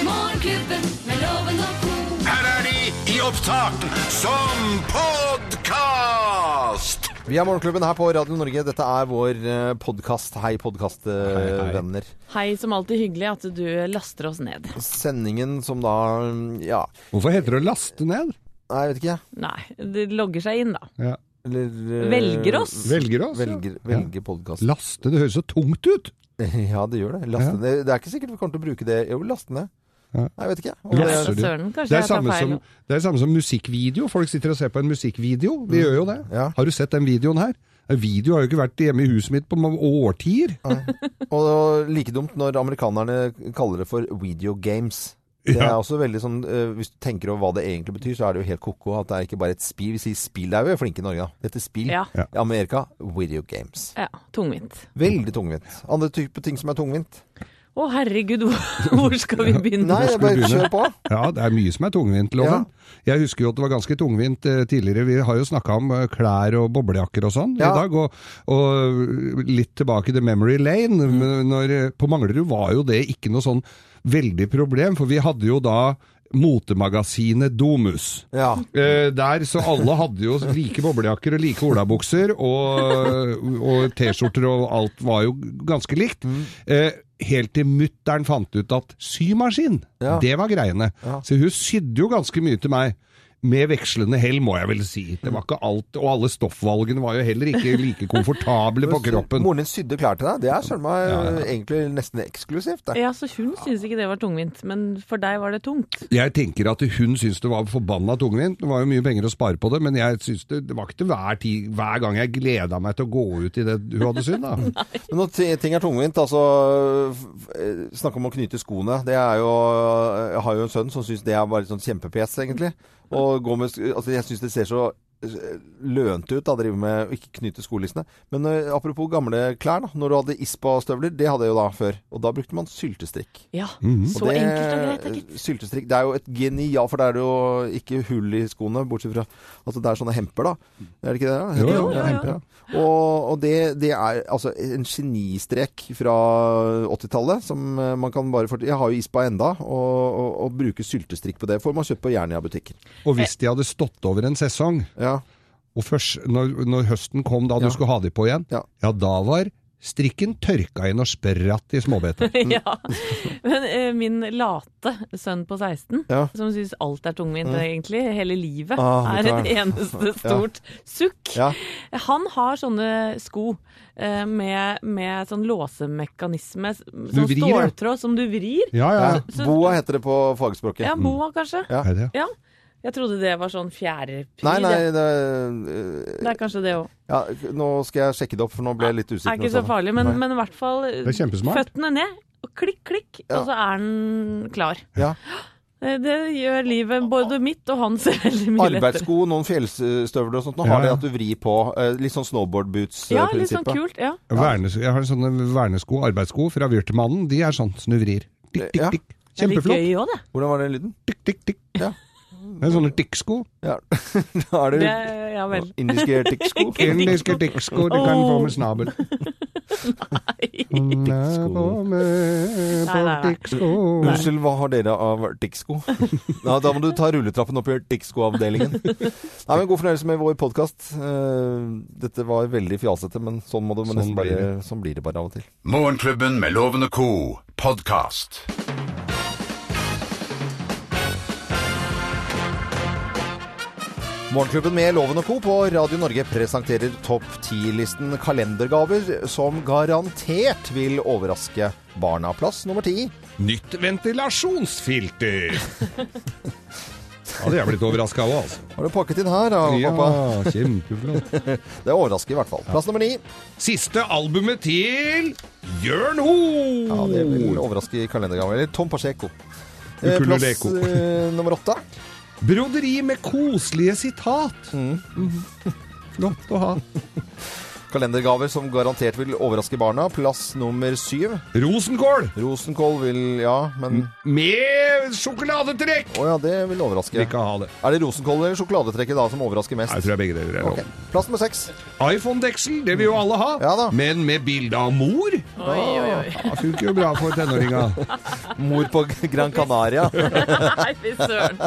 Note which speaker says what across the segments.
Speaker 1: Morgenklubben med loven og ko.
Speaker 2: Her er de i opptak som podkast!
Speaker 3: Vi er Morgenklubben her på Radio Norge. Dette er vår podkast. Hei,
Speaker 4: hei.
Speaker 3: podkastvenner.
Speaker 5: Hei, som alltid hyggelig at du laster oss ned.
Speaker 3: Sendingen som da Ja,
Speaker 4: Hvorfor heter det å laste ned?
Speaker 3: nei, jeg vet ikke.
Speaker 5: Nei, det logger seg inn da.
Speaker 4: Ja.
Speaker 3: Eller, eh,
Speaker 5: Velger oss.
Speaker 4: Velger oss? ja.
Speaker 3: Velger, velger podkast.
Speaker 4: Laste, det høres så tungt ut.
Speaker 3: Ja, det gjør det. Laste
Speaker 4: Ja.
Speaker 3: ned. Det er ikke sikkert vi kommer til å bruke det. Jo, laste ned.
Speaker 4: Ja.
Speaker 3: Nei, jeg vet ikke. Om
Speaker 4: Laster
Speaker 3: det-
Speaker 4: du?
Speaker 5: Søren, kanskje
Speaker 4: Det er
Speaker 5: jeg tar
Speaker 4: samme
Speaker 5: feil
Speaker 4: som,
Speaker 5: nå.
Speaker 4: det er samme som musikkvideo. Folk sitter og ser på en musikkvideo. De gjør jo det.
Speaker 3: Mm. Ja.
Speaker 4: Har du sett den videoen her? Video har jo ikke vært hjemme i huset mitt på ma- årtier.
Speaker 3: Og like dumt når amerikanerne kaller det for video games. Det er
Speaker 4: Ja.
Speaker 3: også veldig sånn, eh, Hvis du tenker over hva det egentlig betyr, så er det jo helt ko-ko at det er ikke bare et spill. Vi sier spill er vi flinke i Norge, da. Dette er spill.
Speaker 5: Ja.
Speaker 4: Ja.
Speaker 3: I Amerika video games.
Speaker 5: Ja, tungvint.
Speaker 3: Veldig tungvint. Andre type ting som er tungvint.
Speaker 5: Å herregud, hvor, hvor skal vi begynne?
Speaker 3: Nei, jeg
Speaker 4: vi
Speaker 3: bare
Speaker 4: begynne?
Speaker 3: kjør på.
Speaker 4: Ja, det er mye som er tungvint, Loven. Jeg husker jo at det var ganske tungvint eh, tidligere. Vi har jo snakka om eh, klær og boblejakker og sånn
Speaker 3: Ja.
Speaker 4: i dag. Og, og litt tilbake til memory lane.
Speaker 3: Mm.
Speaker 4: men Når, eh, på Manglerud var jo det ikke noe sånn veldig problem, for vi hadde jo da motemagasinet Domus.
Speaker 3: Ja.
Speaker 4: Eh, der, så alle hadde jo like boblejakker og like olabukser, og, og T-skjorter og alt var jo ganske likt.
Speaker 3: Mm.
Speaker 4: Eh, helt til mutter'n fant ut at symaskin,
Speaker 3: Ja.
Speaker 4: det var greiene. Så hun sydde jo ganske mye til meg. Med vekslende hell, må jeg vel si. Det var ikke alt, Og alle stoffvalgene var jo heller ikke like komfortable på kroppen.
Speaker 3: Moren din sydde klær til deg. Det er søren meg
Speaker 4: Ja, ja.
Speaker 3: egentlig nesten eksklusivt. Det.
Speaker 5: Ja, så hun synes ikke det var tungvint, men for deg var det tungt.
Speaker 4: Jeg tenker at hun syntes det var forbanna tungvint. Det var jo mye penger å spare på det, men jeg synes det, det var ikke til hver, tid, hver gang jeg gleda meg til å gå ut i det hun hadde sydd, da.
Speaker 3: Men når ti- ting er tungvint, altså f- eh, Snakk om å knyte skoene. Det er jo eh, Jeg har jo en sønn som syns det er bare sånn kjempepes, egentlig. Og gå med, sk- altså jeg syns det ser så eh, lønt ut da, å drive med å ikke knyte skolissene. Men eh, apropos gamle klær, da. Når du hadde ispa-støvler, det hadde jeg jo da før. Og da brukte man syltestrikk.
Speaker 5: Ja,
Speaker 4: Mhm.
Speaker 5: så enkelt og greit, da, gitt.
Speaker 3: Syltestrikk, det er jo et genial For det er det jo ikke hull i skoene, bortsett fra Altså, det er sånne hemper, da. Er det ikke det? da? Heter det?
Speaker 4: Jo, jo,
Speaker 3: Ja,
Speaker 4: jo,
Speaker 3: hemper, ja. Og, og det, det er altså en genistrek fra 80-tallet som eh, man kan bare fort- Jeg har jo ispa enda, og, og, og bruker syltestrikk på det. Får man kjøpt på Jernia-butikken.
Speaker 4: Og hvis de hadde stått over en sesong,
Speaker 3: Ja.
Speaker 4: og først når, når høsten kom da
Speaker 3: Ja.
Speaker 4: du skulle ha de på igjen,
Speaker 3: Ja.
Speaker 4: ja, da var strikken tørka inn og spratt i småbeter.
Speaker 3: Mm.
Speaker 5: ja. Men eh, min late sønn på 16,
Speaker 3: Ja. Mm.
Speaker 5: som synes alt er tungvint egentlig, hele livet,
Speaker 3: Ah,
Speaker 5: er et
Speaker 3: vet du hva.
Speaker 5: eneste stort sukk.
Speaker 3: Ja.
Speaker 5: Han har sånne sko eh, med, med sånn låsemekanisme, s- sånn
Speaker 4: vrir, ja.
Speaker 5: ståltråd som du vrir.
Speaker 4: Ja, ja.
Speaker 3: Ja.
Speaker 5: Så-
Speaker 3: Boa heter det på fagspråket.
Speaker 5: Ja, boa kanskje?
Speaker 3: Ja.
Speaker 4: Er det?
Speaker 5: Ja. Jeg trodde det var sånn fjærepri.
Speaker 3: Nei, nei,
Speaker 5: det.
Speaker 3: det, eh,
Speaker 5: det er kanskje det òg.
Speaker 3: ja, nå skal jeg sjekke det opp, for nå ble jeg litt usikker.
Speaker 5: Er ikke
Speaker 3: nå,
Speaker 5: så
Speaker 3: Sanne.
Speaker 5: farlig, men,
Speaker 3: sånn. Nei.
Speaker 5: men i hvert fall eh,
Speaker 4: Det er kjempesmart.
Speaker 5: føttene ned, og klikk, klikk,
Speaker 3: Ja.
Speaker 5: og så er den klar.
Speaker 3: Ja.
Speaker 5: Eh, Det gjør livet både mitt og hans veldig mye lettere.
Speaker 3: Arbeidssko, noen fjellstøvler og sånt. Nå
Speaker 4: Ja,
Speaker 3: har det
Speaker 4: ja.
Speaker 3: at du vrir på. eh, Litt sånn snowboard
Speaker 5: Ja, litt sånn
Speaker 3: boots-prinsippet.
Speaker 5: kult. Ja.
Speaker 4: Vernes, jeg har sånne vernesko, arbeidssko fra Wirtmannen. De er sånn som du vrir. Tikk,
Speaker 3: Ja.
Speaker 4: tikk, tikk.
Speaker 5: Det er litt
Speaker 4: Kjempeflott.
Speaker 5: gøy òg, det.
Speaker 3: Hvordan var den lyden?
Speaker 4: Tikk, tikk, tikk.
Speaker 3: Ja.
Speaker 4: Det er sånne tikksko.
Speaker 3: Ja. da er det,
Speaker 5: det. Ja vel.
Speaker 3: indiske tikksko.
Speaker 4: Indiske tikksko du kan få med snabel. På
Speaker 5: Nei,
Speaker 4: med
Speaker 5: nei,
Speaker 4: på
Speaker 5: nei.
Speaker 4: tikksko.
Speaker 3: Unnskyld, hva har dere av tikksko? Ja, da må du ta rulletrappen opp i tikkskoavdelingen. Nei, men God fornøyelse med vår podkast. Dette var veldig fjasete, men sånn, må det, men
Speaker 4: Sånn
Speaker 3: nesten
Speaker 4: blir
Speaker 3: bare, sånn blir det bare av og til.
Speaker 2: Morgenklubben med Loven og co. podkast.
Speaker 3: Morgenklubben med Loven og Co. på Radio Norge presenterer topp 10-listen kalendergaver som garantert vil overraske barna. Plass nummer ti.
Speaker 4: Nytt ventilasjonsfilter. Ja, det er jeg blitt overraska av, altså.
Speaker 3: Har du pakket inn her, da,
Speaker 4: Ja,
Speaker 3: pappa?
Speaker 4: kjempeflott.
Speaker 3: Det overrasker i hvert fall. Plass nummer ni.
Speaker 4: Siste albumet til Jørn
Speaker 3: Ja, det vil
Speaker 4: Hoel.
Speaker 3: overraske Oh. i kalendergaven. Eller Tom Pacheco. Eh, Plass
Speaker 4: Ukuleleko.
Speaker 3: eh, nummer åtte. Mm.
Speaker 4: Broderi med koselige sitat. Mhm. Flott å ha.
Speaker 3: Kalendergaver som garantert vil overraske barna. Plass nummer syv.
Speaker 4: Rosenkål
Speaker 3: Rosenkål vil Ja, men
Speaker 4: Mm. med sjokoladetrekk!
Speaker 3: Å ja, det vil overraske.
Speaker 4: Vil ikke ha det.
Speaker 3: Er det rosenkål eller sjokoladetrekket da som overrasker mest?
Speaker 4: Nei, Jeg tror jeg begge deler er lov.
Speaker 3: Ok. Plass nummer seks.
Speaker 4: iPhone-deksel, det vil jo alle ha.
Speaker 3: Ja da.
Speaker 4: Men med bilde av mor?
Speaker 5: Oi, oi, oi.
Speaker 4: Det funker jo bra for tenåringa.
Speaker 3: Mor på Gran Canaria.
Speaker 5: Nei, fy søren.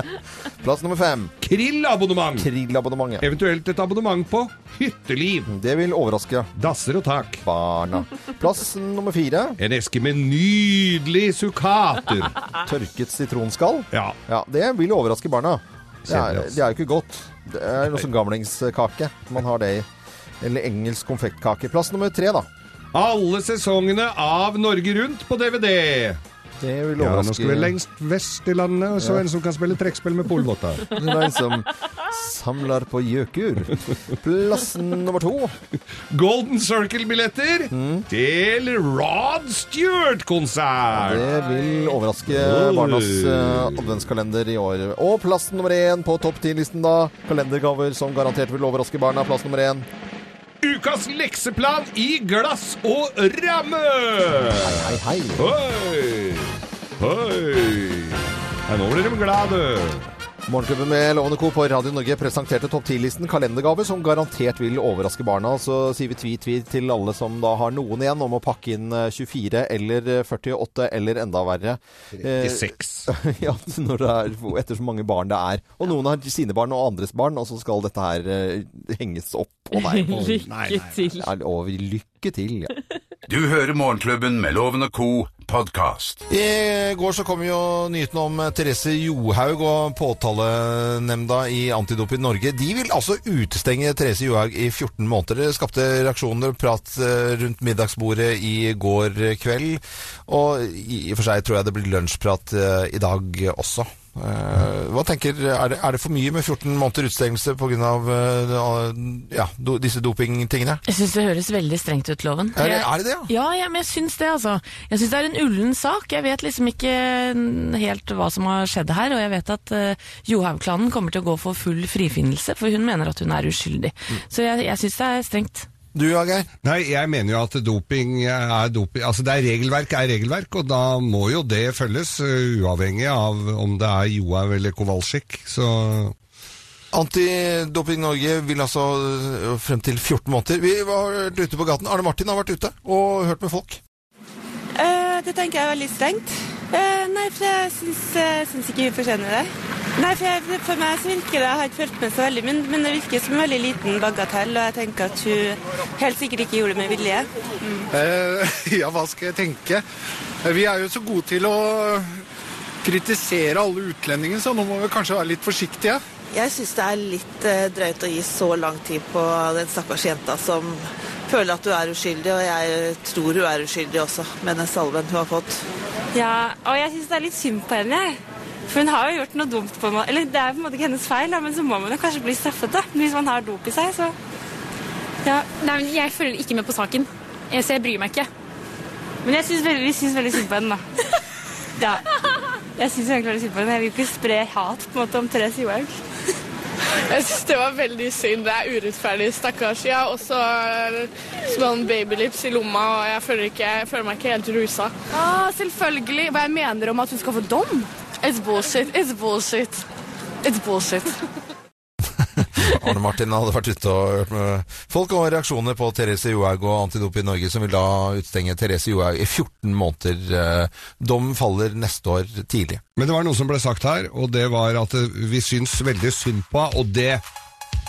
Speaker 3: Plass nummer fem.
Speaker 4: Krill-abonnement.
Speaker 3: Krillabonnementet.
Speaker 4: Eventuelt et abonnement på hytteliv.
Speaker 3: Det vil overraske
Speaker 4: Dasser og tak.
Speaker 3: barna. Plass nummer fire.
Speaker 4: En eske med nydelig sukkater.
Speaker 3: Tørket sitronskall.
Speaker 4: Ja.
Speaker 3: Ja, det vil overraske barna. Det er,
Speaker 4: Kjedelig, altså.
Speaker 3: det er jo ikke godt. Det er noe som gamlingskake. Man har det i. Eller engelsk konfektkake. Plass nummer tre, da.
Speaker 4: Alle sesongene av Norge Rundt på DVD.
Speaker 3: Det vil
Speaker 4: Ja, nå
Speaker 3: overraske
Speaker 4: skal vi lengst vest i landet, og så en som kan spille trekkspill med polvotter.
Speaker 3: Det er en som samler på gjøkur. Plass nummer to.
Speaker 4: Golden Circle-billetter til Rod Stewart-konsert.
Speaker 3: Det vil overraske barnas eh, adventskalender i år. Og plass nummer én på topp ti-listen, da. Kalendergaver som garantert vil overraske barna. Plass nummer én.
Speaker 4: Ukas lekseplan i glass og ramme!
Speaker 3: Hei, hei.
Speaker 4: Hei! Hei! Ja, nå blir de glade, du.
Speaker 3: Morgenklubben med Lovende Co. på Radio Norge presenterte topp 10-listen kalendergaver som garantert vil overraske barna. Så sier vi tvi-tvi til alle som da har noen igjen om å pakke inn eh, 24 eller eh, 48 eller enda verre. Eh, ja, når det er, etter så mange barn det er. Og noen har sine barn og andres barn, og så skal dette her eh, henges opp. Å nei. å nei.
Speaker 5: Lykke til.
Speaker 3: Ja, Og lykke til. Ja.
Speaker 2: Du hører Morgenklubben med Loven og Co. podkast.
Speaker 3: I går så kom jo nyheten om eh, Therese Johaug og påtalenemnda i Antidoping Norge. De vil altså utestenge Therese Johaug i 14 måneder. Det skapte reaksjoner og prat eh, rundt middagsbordet i går kveld. Og i og for seg tror jeg det blir lunsjprat eh, i dag også. Eh, Hva tenker, er det, er det for mye med 14 måneder utestengelse pga. eh, Ja, do, disse dopingtingene?
Speaker 5: Jeg syns det høres veldig strengt ut, Loven.
Speaker 3: Er det er det, det, ja?
Speaker 5: Ja, ja, men jeg syns det, altså. Jeg syns det er en ullen sak. Jeg vet liksom ikke mm, helt hva som har skjedd her, og jeg vet at uh, Johaug-klanen kommer til å gå for full frifinnelse, for hun mener at hun er uskyldig. Så jeg, jeg syns det er strengt.
Speaker 3: Du, Geir?
Speaker 4: Nei, jeg mener jo at doping er doping. Altså, det er regelverk er regelverk, og da må jo det følges, uh, uavhengig av om det er Johaug eller Kowalczyk. Så
Speaker 3: Antidoping Norge vil altså ø, frem til 14 måneder. Vi har vært ute på gaten. Arne Martin har vært ute og hørt med folk.
Speaker 6: Eh, det tenker jeg er veldig strengt. Eh, nei, for jeg syns, eh, syns ikke hun fortjener det. Nei, for, jeg, for meg så virker det, jeg har ikke fulgt med så veldig, men, men det virker som en veldig liten bagatell, og jeg tenker at hun helt sikkert ikke gjorde det med vilje.
Speaker 7: Eh, Ja, hva skal jeg tenke? Eh, Vi er jo så gode til å kritisere alle utlendinger, så nå må vi kanskje være litt forsiktige.
Speaker 8: Jeg syns det er litt eh, drøyt å gi så lang tid på den stakkars jenta som føler at du er uskyldig, og jeg tror hun er uskyldig også, med den salven hun har fått.
Speaker 6: Ja, og jeg syns det er litt synd på henne, For hun har jo gjort noe dumt på en måte. Eller det er på en måte ikke hennes feil, men så må man jo kanskje bli straffet, da. Hvis man har dop i seg, så
Speaker 9: Ja, nei, men jeg følger ikke med på saken, Eh, så jeg bryr meg ikke.
Speaker 6: Men jeg syns veldig, vi syns veldig synd på henne, da. Ja. Jeg syns egentlig veldig synd på henne. Jeg vil ikke spre hat på en måte om Therese Johaug.
Speaker 10: Jeg syns det var veldig synd. Det er urettferdig, stakkars. Jeg har også sånn babylips i lomma, og jeg føler, ikke, jeg føler meg ikke helt rusa. Ah, selvfølgelig. Hva jeg mener om at hun skal få dom? It's bullshit. It's bullshit. It's bullshit.
Speaker 3: Arne Martin hadde vært ute og hørt med folk, og reaksjoner på Therese Johaug og Antidoping Norge, som vil da utstenge Therese Johaug i 14 måneder. Øh, Dom faller neste år tidlig.
Speaker 4: Men det var noe som ble sagt her, og det var at eh, vi syns veldig synd på henne, og det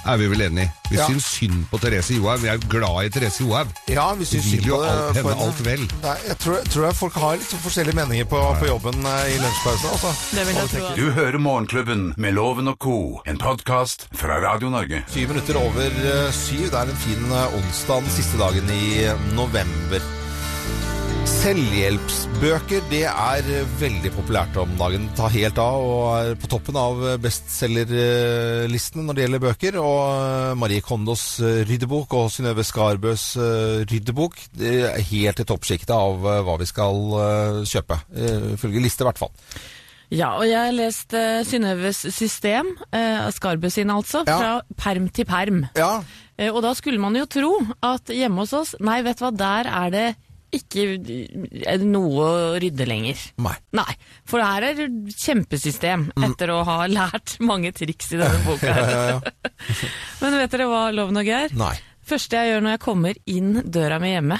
Speaker 4: er vi vel enig i. Vi
Speaker 3: Ja.
Speaker 4: syns synd på Therese Johaug. Vi er jo glad i Therese Johaug.
Speaker 3: Ja, hvis
Speaker 4: Vi vil jo alt henne alt vel.
Speaker 3: Nei, jeg tror, tror jeg folk har litt sånn forskjellige meninger på, på jobben eh, i lunsjpausen. Altså.
Speaker 5: Det vil jeg tro.
Speaker 2: Du hører Morgenklubben med Loven og Co. En podkast fra Radio Norge.
Speaker 3: Syv minutter over eh, syv. Det er en fin eh, onsdag den siste dagen i november. Selvhjelpsbøker det er eh, veldig populært om dagen. Ta helt av og er på toppen av eh, bestselgerlisten når det gjelder bøker. Og eh, Marie Kondos eh, ryddebok og Synnøve Skarbøs eh, ryddebok det er helt i toppsjiktet av eh, hva vi skal eh, kjøpe. Eh, Ifølge liste, i hvert fall.
Speaker 5: Ja, og jeg har lest eh, uh, Synnøves system, uh, Skarbø sine eh, altså,
Speaker 3: Ja.
Speaker 5: fra perm til perm.
Speaker 3: Ja,
Speaker 5: Eh, Og da skulle man jo tro at hjemme hos oss, nei, vet du hva, der er det ikke eh, noe å rydde lenger.
Speaker 3: Nei.
Speaker 5: Nei, for det her er kjempesystem etter å ha lært mange triks i denne boka. her. Men vet dere hva, Loven og Geir?
Speaker 3: Eh, Nei.
Speaker 5: første jeg gjør når jeg kommer inn døra mi hjemme,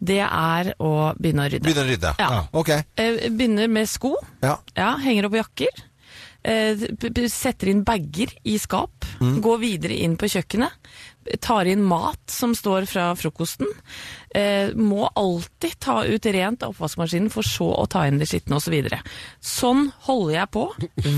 Speaker 5: det er å begynne å rydde.
Speaker 3: Begynne å rydde.
Speaker 5: Ja.
Speaker 3: Ok.
Speaker 5: Eh, Begynner med sko.
Speaker 3: Ja.
Speaker 5: Ja, henger opp jakker. Eh, p- p- Setter inn bager i skap. Går videre inn på kjøkkenet. Tar inn mat som står fra frokosten. Eh, må alltid ta ut rent av oppvaskmaskinen for så å ta inn det skitne osv. Sånn holder jeg på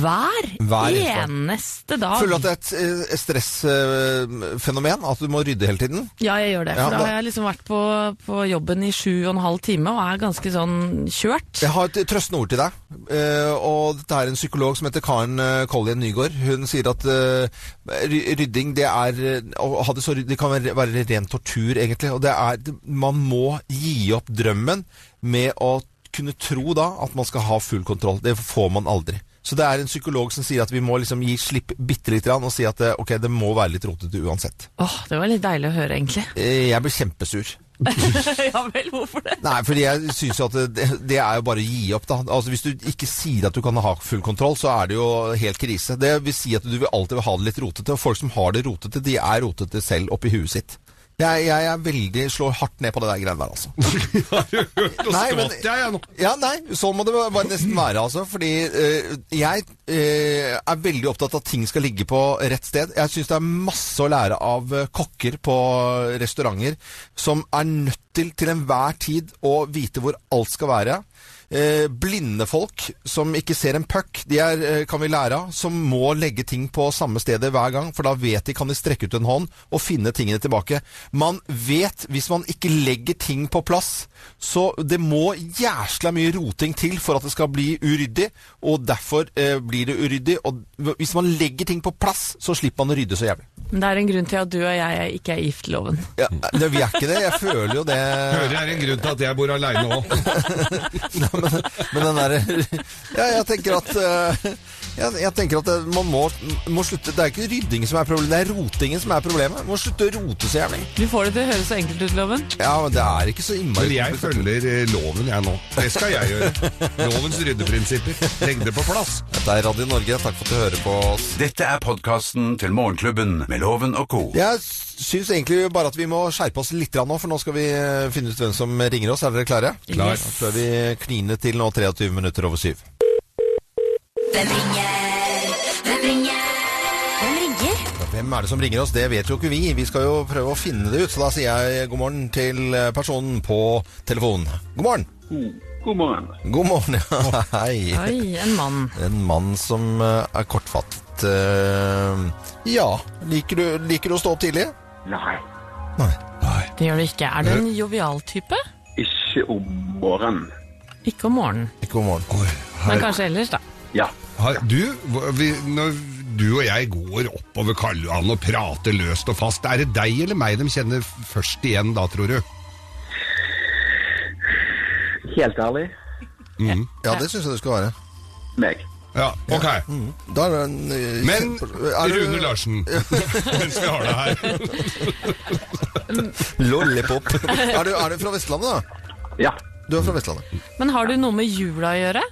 Speaker 5: hver,
Speaker 3: Hver eneste dag.
Speaker 5: eneste dag.
Speaker 3: Føler du at det er et eh, stressfenomen? At du må rydde hele tiden?
Speaker 5: Ja, jeg gjør det. For
Speaker 3: Ja,
Speaker 5: da
Speaker 3: hva-
Speaker 5: har jeg liksom vært på, på jobben i sju og en halv time og er ganske sånn kjørt.
Speaker 3: Jeg har et trøstende ord til deg. Eh, og dette er en psykolog som heter Karen eh, Collien Nygaard. Hun sier at eh, ry- rydding det er eh, å ha det, så ryddig, det kan være, være ren tortur, egentlig. Og det er Man må gi opp drømmen med å kunne tro da at man skal ha full kontroll. Det får man aldri. Så det er en psykolog som sier at vi må liksom gi slipp bitte lite grann og si at eh, ok, det må være litt rotete uansett.
Speaker 5: Åh, det var litt deilig å høre, egentlig.
Speaker 3: Eh, jeg blir kjempesur.
Speaker 5: ja vel, hvorfor det?
Speaker 3: Nei, fordi jeg syns jo at det, det er jo bare å gi opp, da. Altså Hvis du ikke sier at du kan ha full kontroll, så er det jo helt krise. Det vil si at du vil alltid ha det litt rotete, og folk som har det rotete, de er rotete selv oppi huet sitt. Jeg, jeg er veldig slår hardt ned på det der greiene der, altså.
Speaker 4: Nå
Speaker 3: Nei, men-
Speaker 4: skvatt jeg, jeg nå.
Speaker 3: Ja, nei, sånn må det bare nesten være, altså. Fordi eh, jeg eh, er veldig opptatt av at ting skal ligge på rett sted. Jeg syns det er masse å lære av eh, kokker på restauranter som er nødt til til enhver tid å vite hvor alt skal være. Eh, blinde folk som ikke ser en puck, de er, eh, kan vi lære av, som må legge ting på samme stedet hver gang, for da vet de, kan de strekke ut en hånd og finne tingene tilbake. Man vet, hvis man ikke legger ting på plass, så det må jæsla mye roting til for at det skal bli uryddig, og derfor eh, blir det uryddig, og hvis man legger ting på plass, så slipper man å rydde så jævlig.
Speaker 5: Men det er en grunn til at du og jeg ikke er gift, Loven.
Speaker 3: Ja, det, vi er ikke det, jeg føler jo det.
Speaker 4: Hører jeg er en grunn til at jeg bor aleine òg.
Speaker 3: Men den der Ja, jeg tenker at eh, jeg, jeg tenker at det- man må, må slutte Det er ikke ryddingen som er problemet, det er rotingen som er problemet. Man må slutte å rote så jævlig.
Speaker 5: Du får det til å høres så enkelt ut, Loven.
Speaker 3: Ja, men det er ikke så innmari
Speaker 4: Men jeg følger eh, loven, jeg nå. Det skal jeg gjøre. Lovens ryddeprinsipper. Legg det på plass.
Speaker 3: Dette er Radio Norge, takk for at du hører på oss.
Speaker 2: Dette er podkasten til Morgenklubben med Loven og co.
Speaker 3: Jeg syns egentlig bare at vi må skjerpe oss litt grann nå, for nå skal vi eh, finne ut hvem som ringer oss. Er dere klare?
Speaker 4: Klar.
Speaker 3: Da tror jeg vi kliner til nå 23 minutter over syv.
Speaker 1: Hvem ringer? Hvem ringer? Hvem ringer?
Speaker 3: Hvem er det som ringer oss? Det vet jo ikke vi. Vi skal jo prøve å finne det ut, så da sier jeg god morgen til eh, personen på telefonen. God morgen!
Speaker 11: God morgen.
Speaker 3: God morgen, ja. Hei.
Speaker 5: Oi, en mann.
Speaker 3: En mann som eh, er kortfattet. eh, Ja, liker du, liker du å stå opp tidlig?
Speaker 11: Nei,
Speaker 3: Nei.
Speaker 5: Det gjør du ikke. Er du en jovial type?
Speaker 11: ikke om morgenen.
Speaker 5: Ikke om morgenen,
Speaker 3: Ikke om morgenen.
Speaker 4: Oi,
Speaker 5: men
Speaker 4: her,
Speaker 5: kanskje ellers, da.
Speaker 11: Ja.
Speaker 4: her, du, hva- vi, når du og jeg går oppover Karl Johan og prater løst og fast, er det deg eller meg de kjenner først igjen da, tror du?
Speaker 11: Helt ærlig,
Speaker 3: Ja, det syns jeg det skal være.
Speaker 11: meg.
Speaker 4: Ja, ok.
Speaker 3: Da er det en, eh,
Speaker 4: Men
Speaker 3: er du-
Speaker 4: Rune Larsen, mens vi har deg her.
Speaker 3: Lollipop. er, du, er du fra Vestlandet, da?
Speaker 11: Ja.
Speaker 3: Du er fra Vestlandet.
Speaker 5: Men har du noe med jula å gjøre?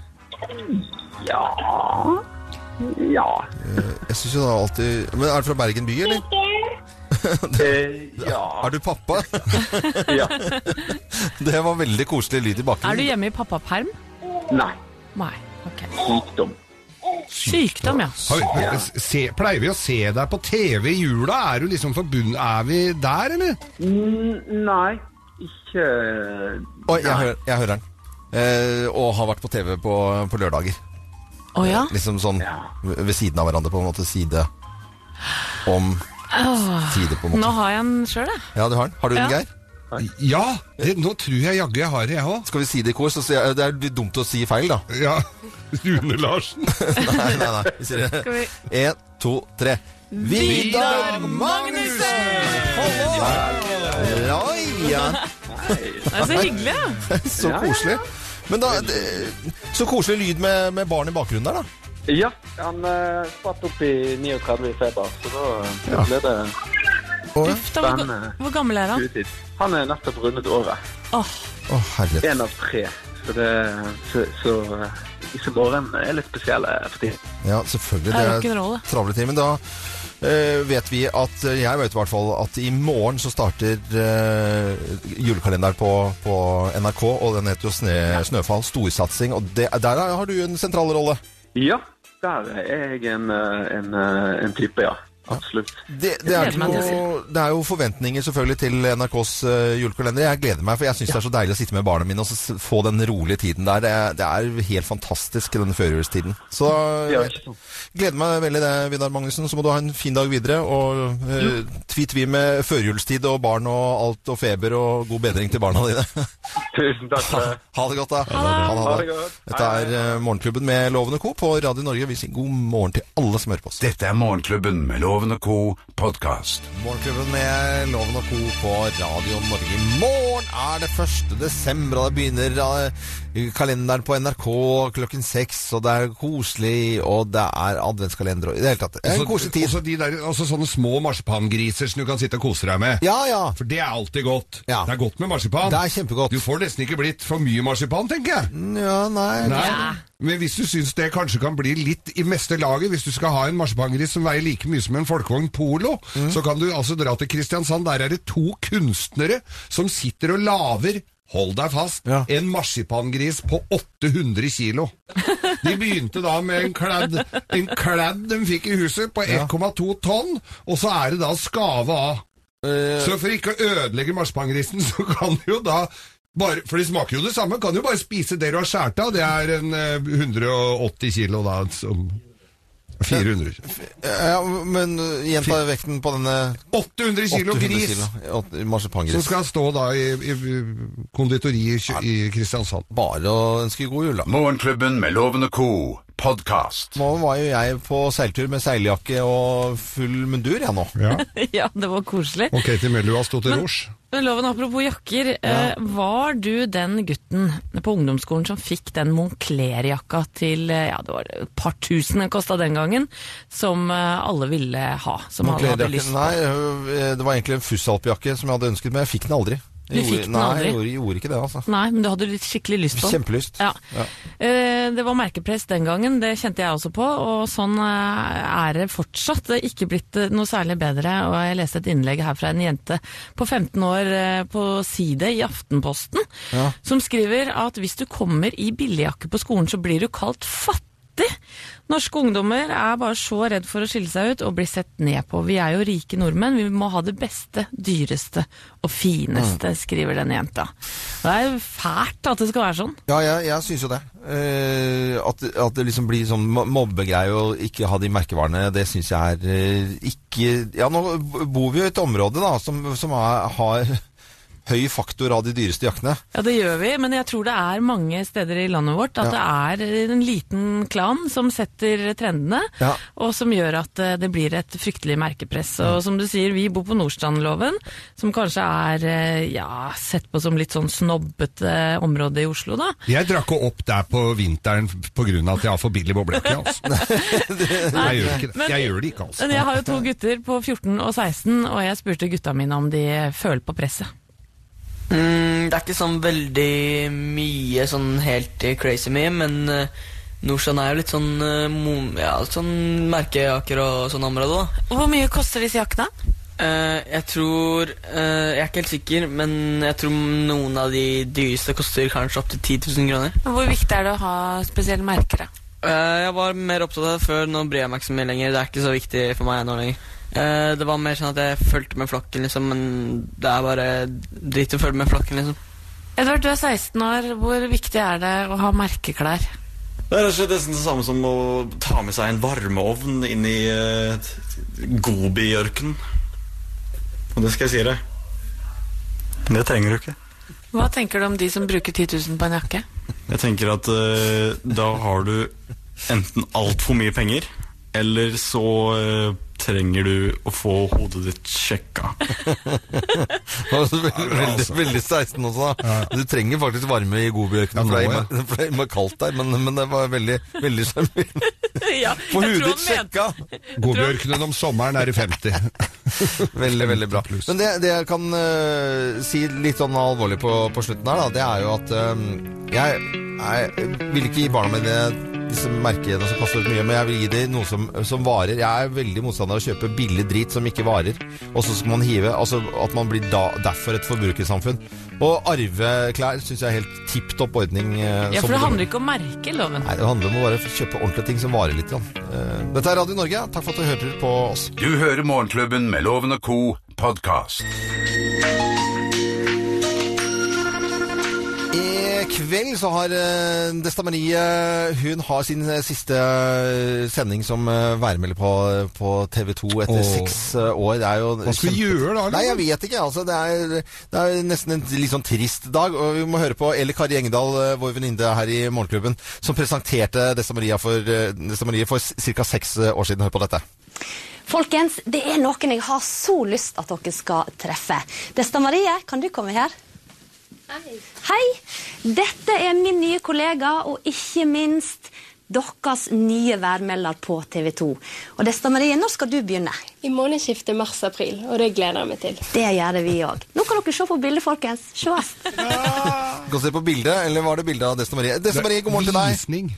Speaker 11: Ja. Ja.
Speaker 3: Jeg synes jo da alltid Men er du fra Bergen by, eller?
Speaker 11: Eh, ja.
Speaker 3: Er du pappa?
Speaker 11: ja.
Speaker 3: Det var veldig koselig lyd i
Speaker 5: Er du
Speaker 3: bakgrunnen.
Speaker 5: hjemme i pappaperm?
Speaker 11: Nei.
Speaker 5: Nei. ok.
Speaker 11: Sykdom.
Speaker 5: Sykdom, ja.
Speaker 4: Har vi- Se, pleier vi å se deg på TV i jula? Er du liksom forbundet Er vi der, eller?
Speaker 11: Mm, nei, ikke
Speaker 12: eh,
Speaker 3: Oi, jeg, hører- jeg hører den. Eh, og har vært på TV på, på lørdager.
Speaker 5: Å ja?
Speaker 3: Liksom sånn
Speaker 11: Ja.
Speaker 3: ved ved siden av hverandre, på en måte. Side om side, på en måte.
Speaker 5: Nå har jeg den sjøl, jeg.
Speaker 3: Ja, du har den. Har du den,
Speaker 5: Ja.
Speaker 3: Geir?
Speaker 4: Ja! Det, nå tror jeg jaggu jeg har det, jeg òg.
Speaker 3: Skal vi si det i kor, så sier jeg Det er litt dumt å si feil, da.
Speaker 4: Ja. Rune Larsen.
Speaker 3: Nei, nei, nei. Vi sier det.
Speaker 5: Skal vi
Speaker 3: En, to, tre. Vidar Magnussen! Ja, ja.
Speaker 5: Det er så hyggelig, ja.
Speaker 3: Så koselig. Men da det- Så koselig lyd med, med barn i bakgrunnen der, da.
Speaker 12: eh,
Speaker 11: Ja, han eh, spratt opp i 39 i feber, så da ble det
Speaker 3: Å, ja.
Speaker 5: Uff da, hvor, ga- hvor gammel er han?
Speaker 12: Han er nettopp rundet året.
Speaker 5: Åh,
Speaker 3: Å, herlighet.
Speaker 12: Én av tre. Så, det, så, så eh, disse morgenene er litt spesielle for tiden.
Speaker 3: Ja, selvfølgelig.
Speaker 12: Det er
Speaker 3: Det
Speaker 12: rock'n'roll,
Speaker 3: er
Speaker 12: det.
Speaker 3: travle timer. Da eh, vet vi at eh, Jeg vet i hvert fall at i morgen så starter eh, julekalenderen på, på NRK, og den heter jo Snø, Snøfall. Storsatsing. Og det, der har du en sentral rolle.
Speaker 12: Ja, der er jeg en, eh, en, eh, en type, ja. Absolutt.
Speaker 3: Det, det, er ikke noe, det er jo forventninger selvfølgelig til NRKs eh, julekalender. Jeg gleder meg, for jeg syns det er så deilig å sitte med barna mine og så s- få den rolige tiden der. Det er, det er helt fantastisk, denne førjulstiden. Så
Speaker 12: Ja,
Speaker 3: jeg gleder meg veldig det, Vidar Magnussen. Så må du ha en fin dag videre. Og eh, tvi-tvi med førjulstid og barn og alt og feber og god bedring til barna dine.
Speaker 12: Tusen takk.
Speaker 3: Ha, ha det godt, da.
Speaker 12: Ha det godt.
Speaker 3: Dette er eh, Morgenklubben med Lovende Co. på Radio Norge. Vi sier god morgen til alle som hører på oss.
Speaker 2: Dette er Morgenklubben med Loven og Co. podkast.
Speaker 3: Morgenklubben med Loven og Co. på Radio Norge. I morgen er det 1. desember, og da begynner eh, kalenderen på NRK klokken seks. Og det er koselig, og det er adventskalender og i det hele tatt. det er En koselig tid.
Speaker 4: Også, de der, også sånne små marsipangriser som du kan sitte og kose deg med.
Speaker 3: Ja, ja.
Speaker 4: For det er alltid godt. Det er godt med marsipan.
Speaker 3: Det er kjempegodt. Mm.
Speaker 4: Du får nesten ikke blitt for mye marsipan, tenker jeg.
Speaker 3: Ja, nei.
Speaker 4: Nei. Men hvis du syns det kanskje kan bli litt i meste laget, hvis du skal ha en marsipangris som veier like mye som en folkevogn Polo,
Speaker 3: Mm.
Speaker 4: så kan du altså dra til Kristiansand. Der er det to kunstnere som sitter og laver Hold deg fast. En marsipangris på 800 kilo. De begynte da med en kladd, en kladd de fikk i huset på 1,2 tonn, og så er det da å skave av. Så for ikke å ødelegge marsipangrisen, så kan du jo da bare, For de smaker jo det samme. Kan du bare spise det du har skåret av. Det er en eh, 180 kilo, da. Som 400.
Speaker 3: Ja, men eh, gjenta vekten på denne
Speaker 4: 800 kilo gris. Som
Speaker 3: Marsipangris.
Speaker 4: skal stå da i, i konditoriet i Kristiansand.
Speaker 3: Bare å ønske god jul, da.
Speaker 2: Morgenklubben med Loven og Co. podkast.
Speaker 3: Nå var jo jeg på seiltur med seiljakke og full mundur, jeg nå.
Speaker 5: ja, det var koselig.
Speaker 4: Og Katie Melua sto til
Speaker 5: Men-
Speaker 4: rors.
Speaker 5: Men loven, apropos jakker, eh, var du den gutten på ungdomsskolen som fikk den Moncler-jakka til eh, ja, det var et par tusen den kosta den gangen, som eh, alle ville ha? Som alle hadde lyst
Speaker 3: Moncler-jakken,
Speaker 5: på?
Speaker 3: nei, øh, det var egentlig en Fussalp-jakke som jeg hadde ønsket, men jeg fikk den aldri.
Speaker 5: Du
Speaker 3: Jeg
Speaker 5: fikk
Speaker 3: gjorde-
Speaker 5: den
Speaker 3: nei,
Speaker 5: aldri?
Speaker 3: jeg gjorde, gjorde ikke det, altså.
Speaker 5: Nei, men du hadde litt skikkelig lyst på den?
Speaker 3: Kjempelyst.
Speaker 5: Ja.
Speaker 3: Ja.
Speaker 5: Eh, Det var merkepress den gangen, det kjente jeg også på, og sånn eh, er det fortsatt. Det er ikke blitt eh, noe særlig bedre, og jeg leste et innlegg her fra en jente på 15 år eh, på side i Aftenposten,
Speaker 13: Ja.
Speaker 5: som skriver at hvis du kommer i billigjakke på skolen, så blir du kalt fattig. Norske ungdommer er bare så redd for å skille seg ut og bli sett ned på. Vi er jo rike nordmenn, vi må ha det beste, dyreste og fineste, skriver denne jenta. Det er jo fælt at det skal være sånn.
Speaker 3: Ja, jeg, jeg syns jo det. Eh, at, at det liksom blir sånn mo- mobbegreie å ikke ha de merkevarene, det syns jeg er eh, ikke Ja, nå bor vi jo i et område da som, som er, har høy faktor av de dyreste jakkene.
Speaker 5: Ja, det gjør vi, men jeg tror det er mange steder i landet vårt at det er en liten klan som setter trendene,
Speaker 3: Ja.
Speaker 5: og som gjør at eh, det blir et fryktelig merkepress. Og som du sier, vi bor på Nordstrandloven, som kanskje er eh, ja, sett på som litt sånn snobbete område i Oslo, da.
Speaker 4: Jeg drakk jo opp der på vinteren pga. at jeg har for billig boblejakke. Altså. Jeg gjør ikke det.
Speaker 5: Men-
Speaker 4: Jeg gjør det ikke, altså.
Speaker 5: Men jeg har jo to gutter på 14 og 16, og jeg spurte gutta mine om de føler på presset.
Speaker 14: Mm, det er ikke sånn veldig mye sånn helt eh, crazy mye, men uh, Norsan er jo litt sånn, eh, mo- ja, litt sånn merkejaker og sånn område, da.
Speaker 5: Hvor mye koster disse jakkene?
Speaker 14: Eh, jeg tror eh, Jeg er ikke helt sikker, men jeg tror noen av de dyreste koster kanskje opptil 10 000 kroner.
Speaker 5: Hvor viktig er det å ha spesielle merker?
Speaker 14: Eh, jeg var mer opptatt av det før. Nå bryr jeg meg ikke så mye lenger. Det er ikke så viktig for meg nå lenger. Eh, det var mer sånn at jeg fulgte med flokken, liksom, men det er bare dritt å følge med flokken, liksom.
Speaker 5: Edvard, du er 16 år. Hvor viktig er det å ha merkeklær?
Speaker 15: Det er rett og slett nesten det samme som å ta med seg en varmeovn inn i uh, Gobi-ørkenen. Og det skal jeg si deg. Det trenger du ikke.
Speaker 5: Hva tenker du om de som bruker 10 000 på en jakke?
Speaker 15: Jeg tenker at eh, da har du enten altfor mye penger, eller så eh, trenger du å få hodet ditt sjekka.
Speaker 3: veldig,
Speaker 4: altså.
Speaker 3: veldig, veldig 16 også. da. Du trenger faktisk varme i godbjørken,
Speaker 4: Ja, nå,
Speaker 3: for det er
Speaker 4: ja.
Speaker 3: immer- for det er immer kaldt der. Men, men det var veldig, veldig sjarmerende.
Speaker 5: ja,
Speaker 3: På
Speaker 5: jeg tror
Speaker 3: hudet
Speaker 5: han mente-
Speaker 3: sjekka!
Speaker 4: Godbjørkenen om sommeren er i 50.
Speaker 3: veldig, veldig bra. Men det, det jeg kan eh, si litt sånn alvorlig på, på slutten her, da, det er jo at eh, jeg, jeg vil ikke gi barna mine disse merkene som koster mye, men jeg vil gi dem noe som, som varer. Jeg er veldig motstander av å kjøpe billig drit som ikke varer, og så skal man hive Altså at man blir da, derfor et forbrukersamfunn. Og arveklær syns jeg er helt tipp topp ordning. eh,
Speaker 5: Ja,
Speaker 3: som
Speaker 5: for det
Speaker 3: du-
Speaker 5: handler ikke om merkeloven.
Speaker 3: Nei, det handler om å bare kjøpe ordentlige ting som varer litt. grann. Eh, Dette er Radio Norge. Takk for at du hørte på oss.
Speaker 2: Du hører Morgenklubben med Loven og Co. podkast.
Speaker 3: I kveld så har eh, Desta Marie Hun har sin eh, siste eh, sending som eh, værmelder på, på TV 2 etter
Speaker 4: Åh.
Speaker 3: seks eh, år. Det er jo
Speaker 4: Hva skal vi gjøre da, eller?
Speaker 3: Nei, jeg vet ikke. Altså, det, er, det er nesten en litt sånn trist dag. Og vi må høre på Eli Kari Engdahl, eh, vår venninne her i Morgenklubben, som presenterte Desta Maria for, eh, Desta Marie for ca. seks eh, år siden. Hør på dette.
Speaker 15: Folkens, det er noen jeg har så lyst at dere skal treffe. Desta Marie, kan du komme her? Hei. Dette er min nye kollega, og ikke minst deres nye værmelder på TV 2. Og Desta Marie, når skal du begynne?
Speaker 1: I månedsskiftet mars-april, og det gleder jeg meg til.
Speaker 15: Det gjør vi òg. Nå kan dere se på bildet, folkens. Sjås.
Speaker 3: Gå og se på bildet, eller var det bildet av Desta Marie? Desta Marie, god morgen til deg.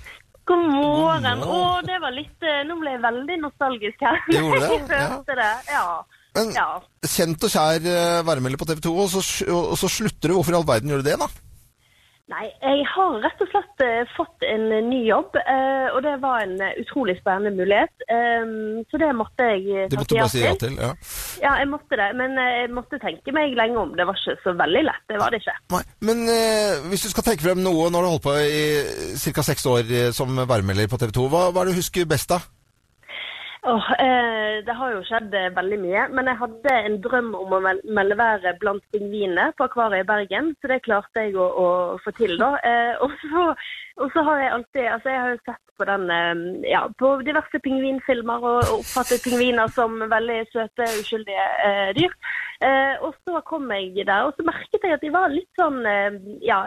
Speaker 14: God morgen. Å, det var litt eh, Nå ble jeg veldig nostalgisk her.
Speaker 3: Det gjorde det,
Speaker 14: Jeg følte det. Ja.
Speaker 3: Men-
Speaker 14: ja.
Speaker 3: Kjent og kjær eh, værmelder på TV 2, og så, og så slutter du. Hvorfor i all verden gjør du det, da?
Speaker 14: Nei, jeg har rett og slett eh, fått en ny jobb, eh, og det var en eh, utrolig spennende mulighet. Eh, så det måtte jeg eh,
Speaker 3: Det måtte du
Speaker 14: takke
Speaker 3: bare si ja til. Ja.
Speaker 14: Ja, jeg måtte det. Men eh, jeg måtte tenke meg lenge om. Det var ikke så veldig lett. Det var det ikke.
Speaker 3: Nei, Men eh, hvis du skal trekke frem noe når du har holdt på i ca. seks år eh, som værmelder på TV 2, hva, hva er det du husker best da?
Speaker 14: Åh, eh, det har jo skjedd eh, veldig mye, men jeg hadde en drøm om å mel- melde været blant pingvinene på akvariet i Bergen, så det klarte jeg å, å få til da. Eh, og, så, og så har jeg alltid, altså jeg har jo sett på den, eh, ja, på diverse pingvinfilmer og, og oppfattet pingviner som veldig søte, uskyldige eh, dyr. Eh, og så kom jeg der, og så merket jeg at de var litt sånn, eh, ja,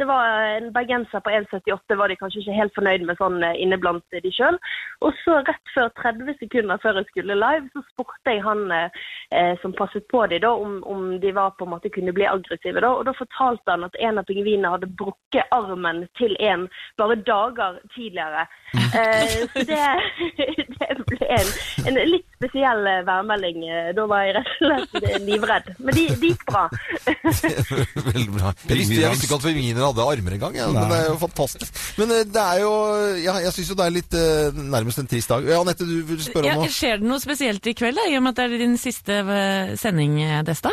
Speaker 14: det var en bergenser på 1,78 var de kanskje ikke helt fornøyd med sånn eh, inne blant de sjøl. Og så rett før 30 sekunder før jeg skulle live, så spurte jeg han eh, eh, som passet på de da, om, om de var på en måte kunne bli aggressive da. Og da fortalte han at en av pingvinene hadde brukket armen til en bare dager tidligere. Eh, så det, det ble en, en litt spesiell eh, værmelding. Eh, Da var jeg rett og slett eh, livredd. Men de- det gikk bra.
Speaker 3: Veldig bra. Jeg visste, jeg visste ikke at pingviner hadde armer engang, ja,
Speaker 4: Nei.
Speaker 3: men det er jo fantastisk. Men eh, det er jo ja, Jeg syns jo det er litt eh, nærmest en trist dag. Ja, Anette, du vil spørre
Speaker 5: Ja,
Speaker 3: om noe?
Speaker 5: skjer det noe spesielt i kveld, da, i og med at det er din siste eh, sending, eh, Desta?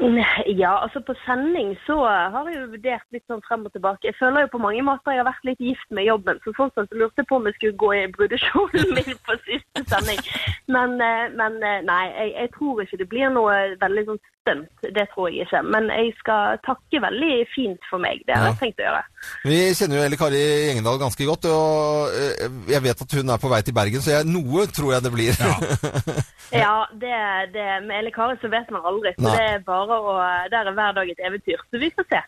Speaker 14: Ja, altså på sending så har jeg jo vurdert litt sånn frem og tilbake. Jeg føler jo på mange måter jeg har vært litt gift med jobben, så sånn sett lurte jeg på om jeg skulle gå i brudekjolen min på siste sending. Men, eh, men eh, nei, jeg, jeg tror ikke det blir noe veldig sånn stunt. Det tror jeg ikke. Men jeg skal takke veldig fint for meg. Det har jeg tenkt å gjøre.
Speaker 3: Vi kjenner jo Elle Kari Engedal ganske godt, og eh, jeg vet at hun er på vei til Bergen, så jeg, noe tror jeg det blir.
Speaker 14: Ja, det, det, med Eli Kari så vet man aldri. Så
Speaker 4: Nei.
Speaker 14: det er bare å Der er hver dag et eventyr. Så vi får se.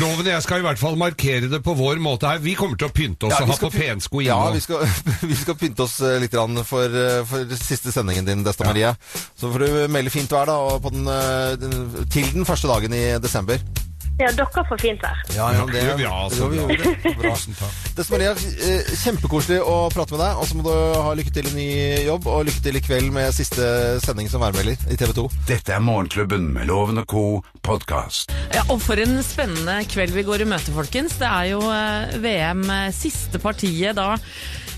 Speaker 4: Loven og jeg skal i hvert fall markere det på vår måte her. Vi kommer til å pynte oss
Speaker 3: Ja, vi
Speaker 4: og ha
Speaker 3: skal
Speaker 4: på pensko
Speaker 3: Ja,
Speaker 4: innom.
Speaker 3: vi skal, vi skal pynte oss eh, litt grann for, eh, for siste sendingen din, Desta Marie. Så får du melde fint vær da, og på den, eh, den, til den første dagen i desember.
Speaker 14: Ja, dere får fint vær.
Speaker 3: det gjør vi. altså. Bra. Desta Marie, eh, kjempekoselig å prate med deg. Og så må du ha lykke til i ny jobb, og lykke til i kveld med siste sending som værmelder i TV 2.
Speaker 2: Dette er Morgenklubben med Loven og Co. podkast.
Speaker 5: Ja, og for en spennende kveld vi går i møte, folkens. Det er jo eh, VM eh, siste partiet da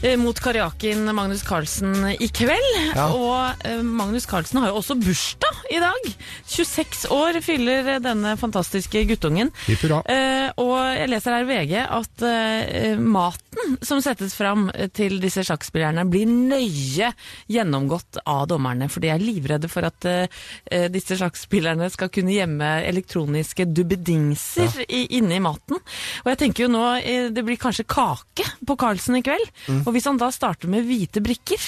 Speaker 5: eh, mot karjaken Magnus Carlsen i kveld.
Speaker 16: Ja.
Speaker 5: Og eh, Magnus Carlsen har jo også bursdag i dag. 26 år fyller eh, denne fantastiske guttungen.
Speaker 16: Hipp hurra.
Speaker 5: Eh, og jeg leser her i VG at eh, maten som settes fram eh, til disse sjakkspillerne, blir nøye gjennomgått av dommerne. For de er livredde for at eh, eh, disse sjakkspillerne skal kunne gjemme elektroniske dubbedingser i, inne i maten. Og jeg tenker jo nå eh, det blir kanskje kake på Carlsen i kveld.
Speaker 16: Mm.
Speaker 5: Og hvis han da starter med hvite brikker,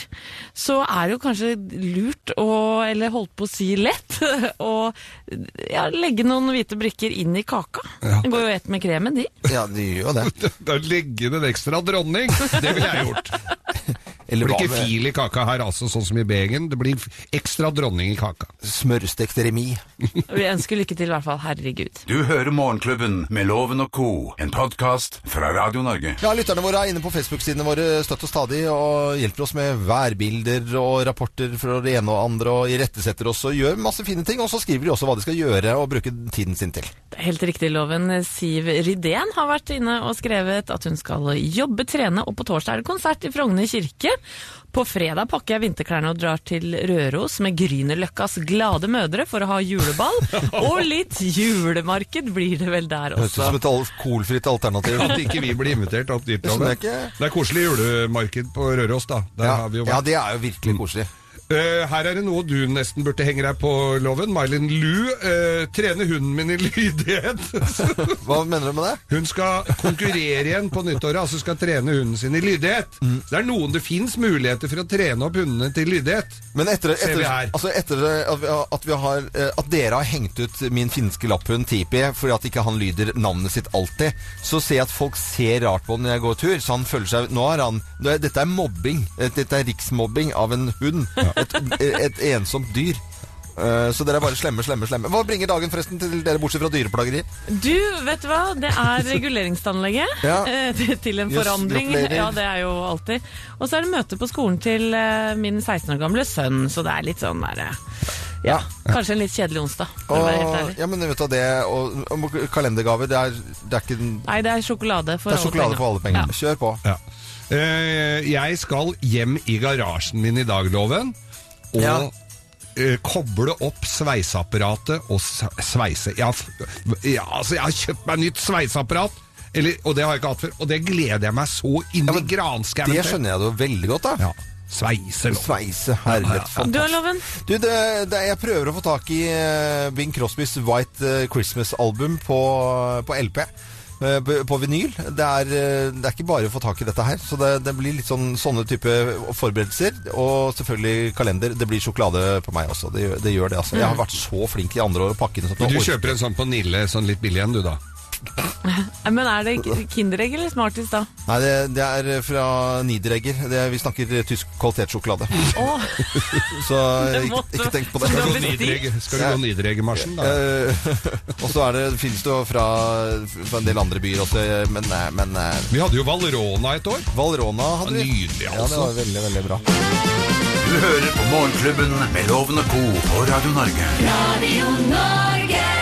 Speaker 5: så er det jo kanskje lurt å, eller holdt på å si lett, å ja, legge noen hvite brikker inn i kaka. Det går jo ett med kremen, de.
Speaker 3: Ja, de gjør jo det.
Speaker 4: da legger det en ekstra dronning. Det ville jeg gjort. Det blir
Speaker 3: hva
Speaker 4: ikke
Speaker 3: med-
Speaker 4: fil i kaka her, altså, sånn som i Begen. Det blir f- ekstra dronning i kaka.
Speaker 3: Smørstekt remis.
Speaker 5: Vi ønsker lykke til, i hvert fall. Herregud.
Speaker 2: Du hører Morgenklubben med Loven og Co., en podkast fra Radio Norge.
Speaker 3: Ja, Lytterne våre er inne på Facebook-sidene våre støtt og stadig og hjelper oss med værbilder og rapporter fra det ene og andre og irettesetter oss og gjør masse fine ting. Og så skriver de også hva de skal gjøre og bruke tiden sin til.
Speaker 5: Det er Helt riktig, Loven. Siv Rydén har vært inne og skrevet at hun skal jobbe, trene, og på torsdag er det konsert i Frogner kirke. På fredag pakker jeg vinterklærne og drar til Røros med Grünerløkkas glade mødre for å ha juleball. Og litt julemarked blir det vel der
Speaker 3: Høres ut
Speaker 5: også.
Speaker 3: som et alkoholfritt alternativ.
Speaker 4: At ikke vi blir invitert opp dit.
Speaker 3: Det skjønner jeg
Speaker 4: Loven. Det er koselig julemarked på Røros, da. Der har vi jo vært.
Speaker 3: Ja, det er jo virkelig koselig.
Speaker 4: Eh, her er det noe du nesten burde henge deg på, Loven. Mylin Lu. eh, trene hunden min i lydighet.
Speaker 3: Hva mener du med det?
Speaker 4: Hun skal konkurrere igjen på nyttåret. Altså skal trene hunden sin i lydighet. Det er noen det fins muligheter for å trene opp hundene til lydighet.
Speaker 3: Men etter,
Speaker 4: Ser
Speaker 3: etter,
Speaker 4: vi her.
Speaker 3: altså etter at, vi, har- at, vi har, eh, at dere har hengt ut min finske lapphund Tipi fordi at ikke han lyder navnet sitt alltid, så ser jeg at folk ser rart på den når jeg går tur. Så han føler seg Nå er han nå er- Dette er mobbing. Eh, Dette er riksmobbing av en hund. Et, eh, et ensomt dyr. Eh, Så dere er bare slemme, slemme, slemme. Hva bringer dagen forresten til dere, bortsett fra dyreplageri?
Speaker 5: Du, vet du hva? Det er reguleringsanlegget
Speaker 3: Ja.
Speaker 5: eh, til- til en
Speaker 3: Jøss,
Speaker 5: forandring.
Speaker 3: gratulerer.
Speaker 5: Ja, det er jo alltid. Og så er det møte på skolen til eh, min 16 år gamle sønn, så det er litt sånn der eh, Ja, kanskje en litt kjedelig onsdag, for å være helt
Speaker 3: Og,
Speaker 5: ærlig.
Speaker 3: ja, men vet du, hva, det og, og kalendergave, det er, det er ikke den-
Speaker 5: Nei, det er sjokolade for
Speaker 3: Det er sjokolade
Speaker 5: penger.
Speaker 3: for alle penger.
Speaker 5: Ja.
Speaker 3: Kjør på.
Speaker 4: Ja. Eh, jeg skal hjem i garasjen min i dag, Loven, og
Speaker 3: Ja.
Speaker 4: eh, koble opp sveiseapparatet og s- sveise. Jeg har, f- ja, altså, jeg har kjøpt meg nytt sveiseapparat. Eller, og det har jeg ikke hatt før, og det gleder jeg meg så inn i granskauen
Speaker 3: Det skjønner jeg jo veldig godt, da.
Speaker 4: Sveise, Loven.
Speaker 3: Sveise, herlighet,
Speaker 5: Du har
Speaker 3: fantastisk.
Speaker 5: loven.
Speaker 3: Du, det, det, jeg prøver å få tak i eh, Bing Crosbys White eh, Christmas-album på, på LP. eh, b- På vinyl. Det er, eh, det er ikke bare å få tak i dette her. Så det, det blir litt sånn, sånne type forberedelser. Og selvfølgelig kalender. Det blir sjokolade på meg også. Det gjør det, gjør det altså. Jeg har vært så flink i andre år å pakke inn sånt.
Speaker 4: Mm. Men du kjøper en sånn på Nille, sånn litt billig en, du, da?
Speaker 5: Nei, Men er det k- Kinderegg eller Smarties, da?
Speaker 3: Nei, det, det er eh, fra Niederegger. Det, vi snakker eh, tysk kvalitetssjokolade.
Speaker 5: Åh.
Speaker 3: Så eh,
Speaker 4: Det
Speaker 3: ikke,
Speaker 4: måtte-
Speaker 3: ikke tenk på det.
Speaker 4: Skal du gå Niederegger- skal du gå Niederegger-marsjen, da?
Speaker 3: Eh, og så er det, finnes det jo fra, fra en del andre byer også, men, eh, men eh,
Speaker 4: Vi hadde jo Valrona et år.
Speaker 3: Valrona hadde vi.
Speaker 4: Nydelig,
Speaker 3: Ja, det
Speaker 4: altså.
Speaker 3: var veldig, veldig bra.
Speaker 2: Du hører på Morgenklubben med Loven og Co. på Radio Norge.
Speaker 1: Radio Norge.